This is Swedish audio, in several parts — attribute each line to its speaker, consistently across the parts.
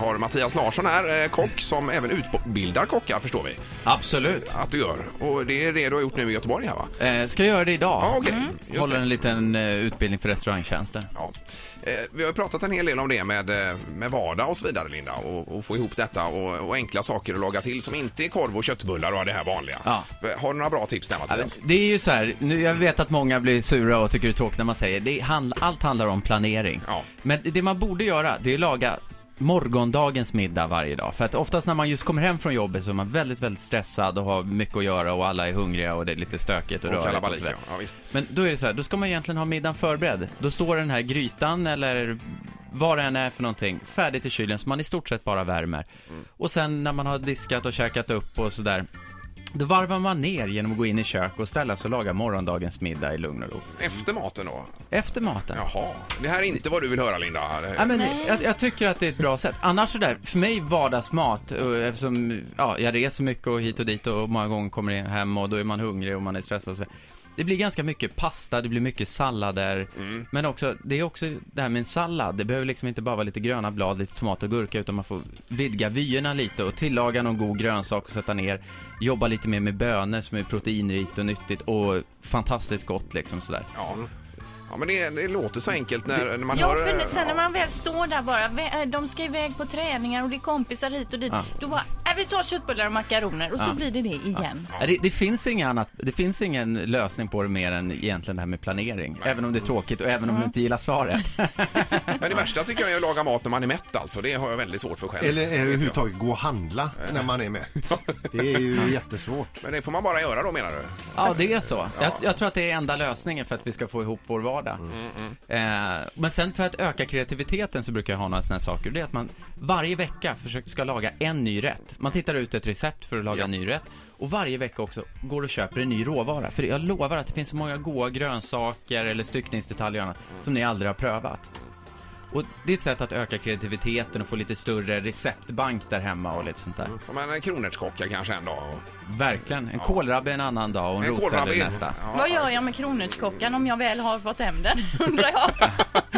Speaker 1: har Mattias Larsson här, eh, kock som även utbildar kockar förstår vi
Speaker 2: Absolut.
Speaker 1: att du gör. Och det är det du har gjort nu i Göteborg här va?
Speaker 2: Eh, ska jag göra det idag?
Speaker 1: Ja, okej. Just
Speaker 2: Mm. Håller
Speaker 1: det.
Speaker 2: en liten eh, utbildning för restaurangtjänster.
Speaker 1: Ja. Eh, Vi har ju pratat en hel del om det med, eh, med vardag och så vidare Linda och, och få ihop detta och, och enkla saker att laga till som inte är korv och köttbullar och det här vanliga. Eh,
Speaker 2: Ja.
Speaker 1: Har du några bra tips där Mattias?
Speaker 2: Det är ju så här, nu, jag vet att många blir sura och tycker det är tråkigt när man säger det, handl, allt handlar om planering.
Speaker 1: Ja.
Speaker 2: Men det man borde göra, det är att laga morgondagens middag varje dag. För att oftast när man just kommer hem från jobbet så är man väldigt, väldigt stressad och har mycket att göra och alla är hungriga och det är lite stökigt och,
Speaker 1: Och
Speaker 2: rörigt och
Speaker 1: kalabalik, ja.
Speaker 2: sådär.
Speaker 1: ja visst.
Speaker 2: Men då är det så här, då ska man egentligen ha middagen förberedd. Då står den här grytan eller vad det än är för någonting färdigt i kylen som man i stort sett bara värmer. Och sen när man har diskat och käkat upp och sådär. Då varvar man ner genom att gå in i kök och ställa sig och laga morgondagens middag i lugn och ro.
Speaker 1: Efter
Speaker 2: Mm.
Speaker 1: maten då?
Speaker 2: Efter maten.
Speaker 1: Jaha. Det här är inte vad du vill höra Linda?
Speaker 2: Ja, men jag, jag tycker att det är ett bra sätt. Annars sådär, för mig vardagsmat, eh, eftersom ja, jag reser mycket och hit och dit och många gånger kommer jag hem och då är man hungrig och man är stressad och så. Det blir ganska mycket pasta, det blir mycket sallader. Men också, det är också det här med en sallad. Det behöver liksom inte bara vara lite gröna blad, lite tomat och gurka, utan man får vidga vyerna lite och tillaga någon god grönsak och sätta ner. Jobba lite mer med bönor som är proteinrikt och nyttigt och fantastiskt gott liksom sådär.
Speaker 1: Ja. Ja, men det, det låter så enkelt när, när man
Speaker 3: Ja,
Speaker 1: hör... eh,
Speaker 2: eh,
Speaker 3: för sen när
Speaker 1: ja.
Speaker 3: man väl står där bara, vä- eh, de ska iväg på träningar och det är kompisar hit och dit.
Speaker 2: Ja.
Speaker 3: Då bara, äh, vi tar köttbullar och makaroner och så
Speaker 2: Ja.
Speaker 3: blir det det igen.
Speaker 2: Ja. Det, det, finns inga annat, det finns ingen lösning på det mer än egentligen det här med planering. Även om det är tråkigt och även om du inte gillar svaret.
Speaker 1: Men det värsta tycker jag är att laga mat när man är mätt alltså. Det har jag väldigt svårt för själv.
Speaker 4: Eller
Speaker 1: Vet jag.
Speaker 4: överhuvudtaget gå och handla när man är mätt. Det är ju jättesvårt.
Speaker 1: Men det får man bara göra då menar du?
Speaker 2: Ja,
Speaker 1: Alltså,
Speaker 2: det är så. Jag, jag tror att det är enda lösningen för att vi ska få ihop vår vardag. Eh, men sen för att öka kreativiteten så brukar jag ha några sådana saker. Det är att man varje vecka försöker, ska laga en ny rätt. Man tittar ut ett recept för att laga
Speaker 1: Ja.
Speaker 2: en ny rätt. Och varje vecka också går och köper en ny råvara. För jag lovar att det finns så många goda grönsaker eller styckningsdetaljer och annat som ni aldrig har prövat. Och det är ett sätt att öka kreativiteten och få lite större receptbank där hemma och lite sånt där.
Speaker 1: Som en kronärtskocka kanske en dag. och-
Speaker 2: Verkligen. En kålrabbe en annan dag och en,
Speaker 1: kålrabbe
Speaker 2: rotsallad
Speaker 1: in.
Speaker 2: nästa.
Speaker 1: Ja,
Speaker 3: Vad gör jag med kronärtskockan om jag väl har fått hem den, undrar jag.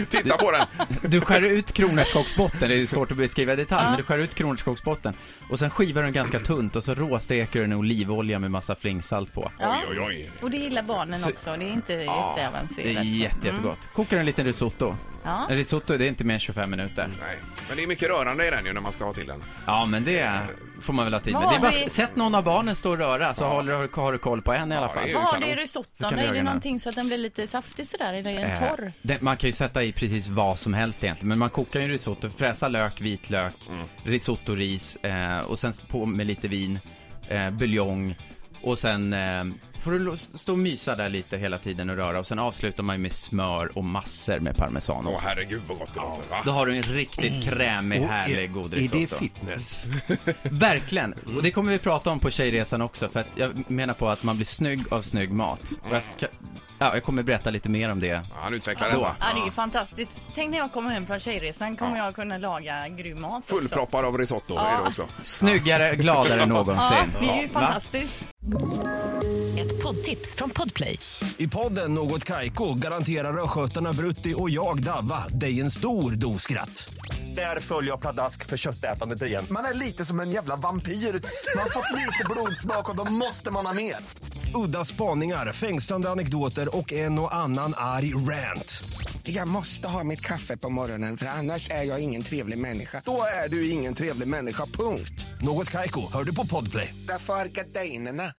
Speaker 1: Titta på den!
Speaker 2: Du skär ut kronärtskocksbotten, det är ju svårt att beskriva i detalj, men du skär ut kronärtskocksbotten och sen skivar du den ganska tunt och så råsteker du den i olivolja med massa flingsalt på.
Speaker 3: Ja.
Speaker 1: Oj, oj, oj.
Speaker 3: Och det gillar barnen
Speaker 2: Så-
Speaker 3: också, det är inte
Speaker 2: Det är
Speaker 3: jätteavancerat. Mm.
Speaker 2: jätte, jättegott. Kokar en liten risotto.
Speaker 3: Ja.
Speaker 2: En risotto, det är inte mer än 25 minuter.
Speaker 1: Nej. Men det är mycket rörande i den ju när man ska ha till den.
Speaker 2: Ja, men det får man väl ha tid med.
Speaker 3: Vad
Speaker 2: Det är bara,
Speaker 3: har vi-
Speaker 2: sätt någon av barnen stå och röra, så håller, du- har du koll på en i alla
Speaker 1: Ja, det är
Speaker 2: fall.
Speaker 1: ju
Speaker 3: Vad har du i
Speaker 1: kanon.
Speaker 2: Så kan
Speaker 3: risotton?
Speaker 2: du
Speaker 3: Är
Speaker 2: göra
Speaker 3: det
Speaker 2: den här.
Speaker 3: någonting så att den blir lite saftig sådär? Eller är den
Speaker 2: Eh,
Speaker 3: torr?
Speaker 2: det, man kan ju sätta i precis vad som helst egentligen, men man kokar ju en risotto, fräsa lök, vitlök, risottoris eh, och sen på med lite vin, eh, buljong och sen eh, får du lo- stå och mysa där lite hela tiden och röra och sen avslutar man ju med smör och massor med parmesan
Speaker 1: Åh
Speaker 2: också.
Speaker 1: herregud vad gott det låter va?
Speaker 2: Då har du en riktigt krämig, härlig, god
Speaker 4: Mm. är
Speaker 2: risotto.
Speaker 4: det fitness?
Speaker 2: Verkligen! Och det kommer vi prata om på tjejresan också, för att jag menar på att man blir snygg av snygg mat. Och jag, ska, ja, jag kommer berätta lite mer om det.
Speaker 1: Ja, han utvecklar
Speaker 2: Då.
Speaker 1: detta.
Speaker 3: Ja, det är ju fantastiskt. Tänk när jag kommer hem från tjejresan kommer jag kunna laga grym mat också.
Speaker 1: Fullproppar av risotto är det också.
Speaker 2: Snyggare, gladare än någonsin.
Speaker 3: Ja, det är ju
Speaker 2: Va?
Speaker 3: fantastiskt.
Speaker 5: Ett poddtips från Podplay.
Speaker 6: I podden Något Kaiko garanterar östgötarna Brutti och jag, Davva, dig en stor dos skratt. Där följer jag pladask för köttätandet igen.
Speaker 7: Man är lite som en jävla vampyr. Man har fått lite blodsmak och då måste man ha mer.
Speaker 6: Udda spaningar, fängslande anekdoter och en och annan arg rant.
Speaker 7: Jag måste ha mitt kaffe på morgonen för annars är jag ingen trevlig människa. Då är du ingen trevlig människa, punkt.
Speaker 6: Något Kaiko, hör du på Podplay.
Speaker 7: Därför arkadeinerna.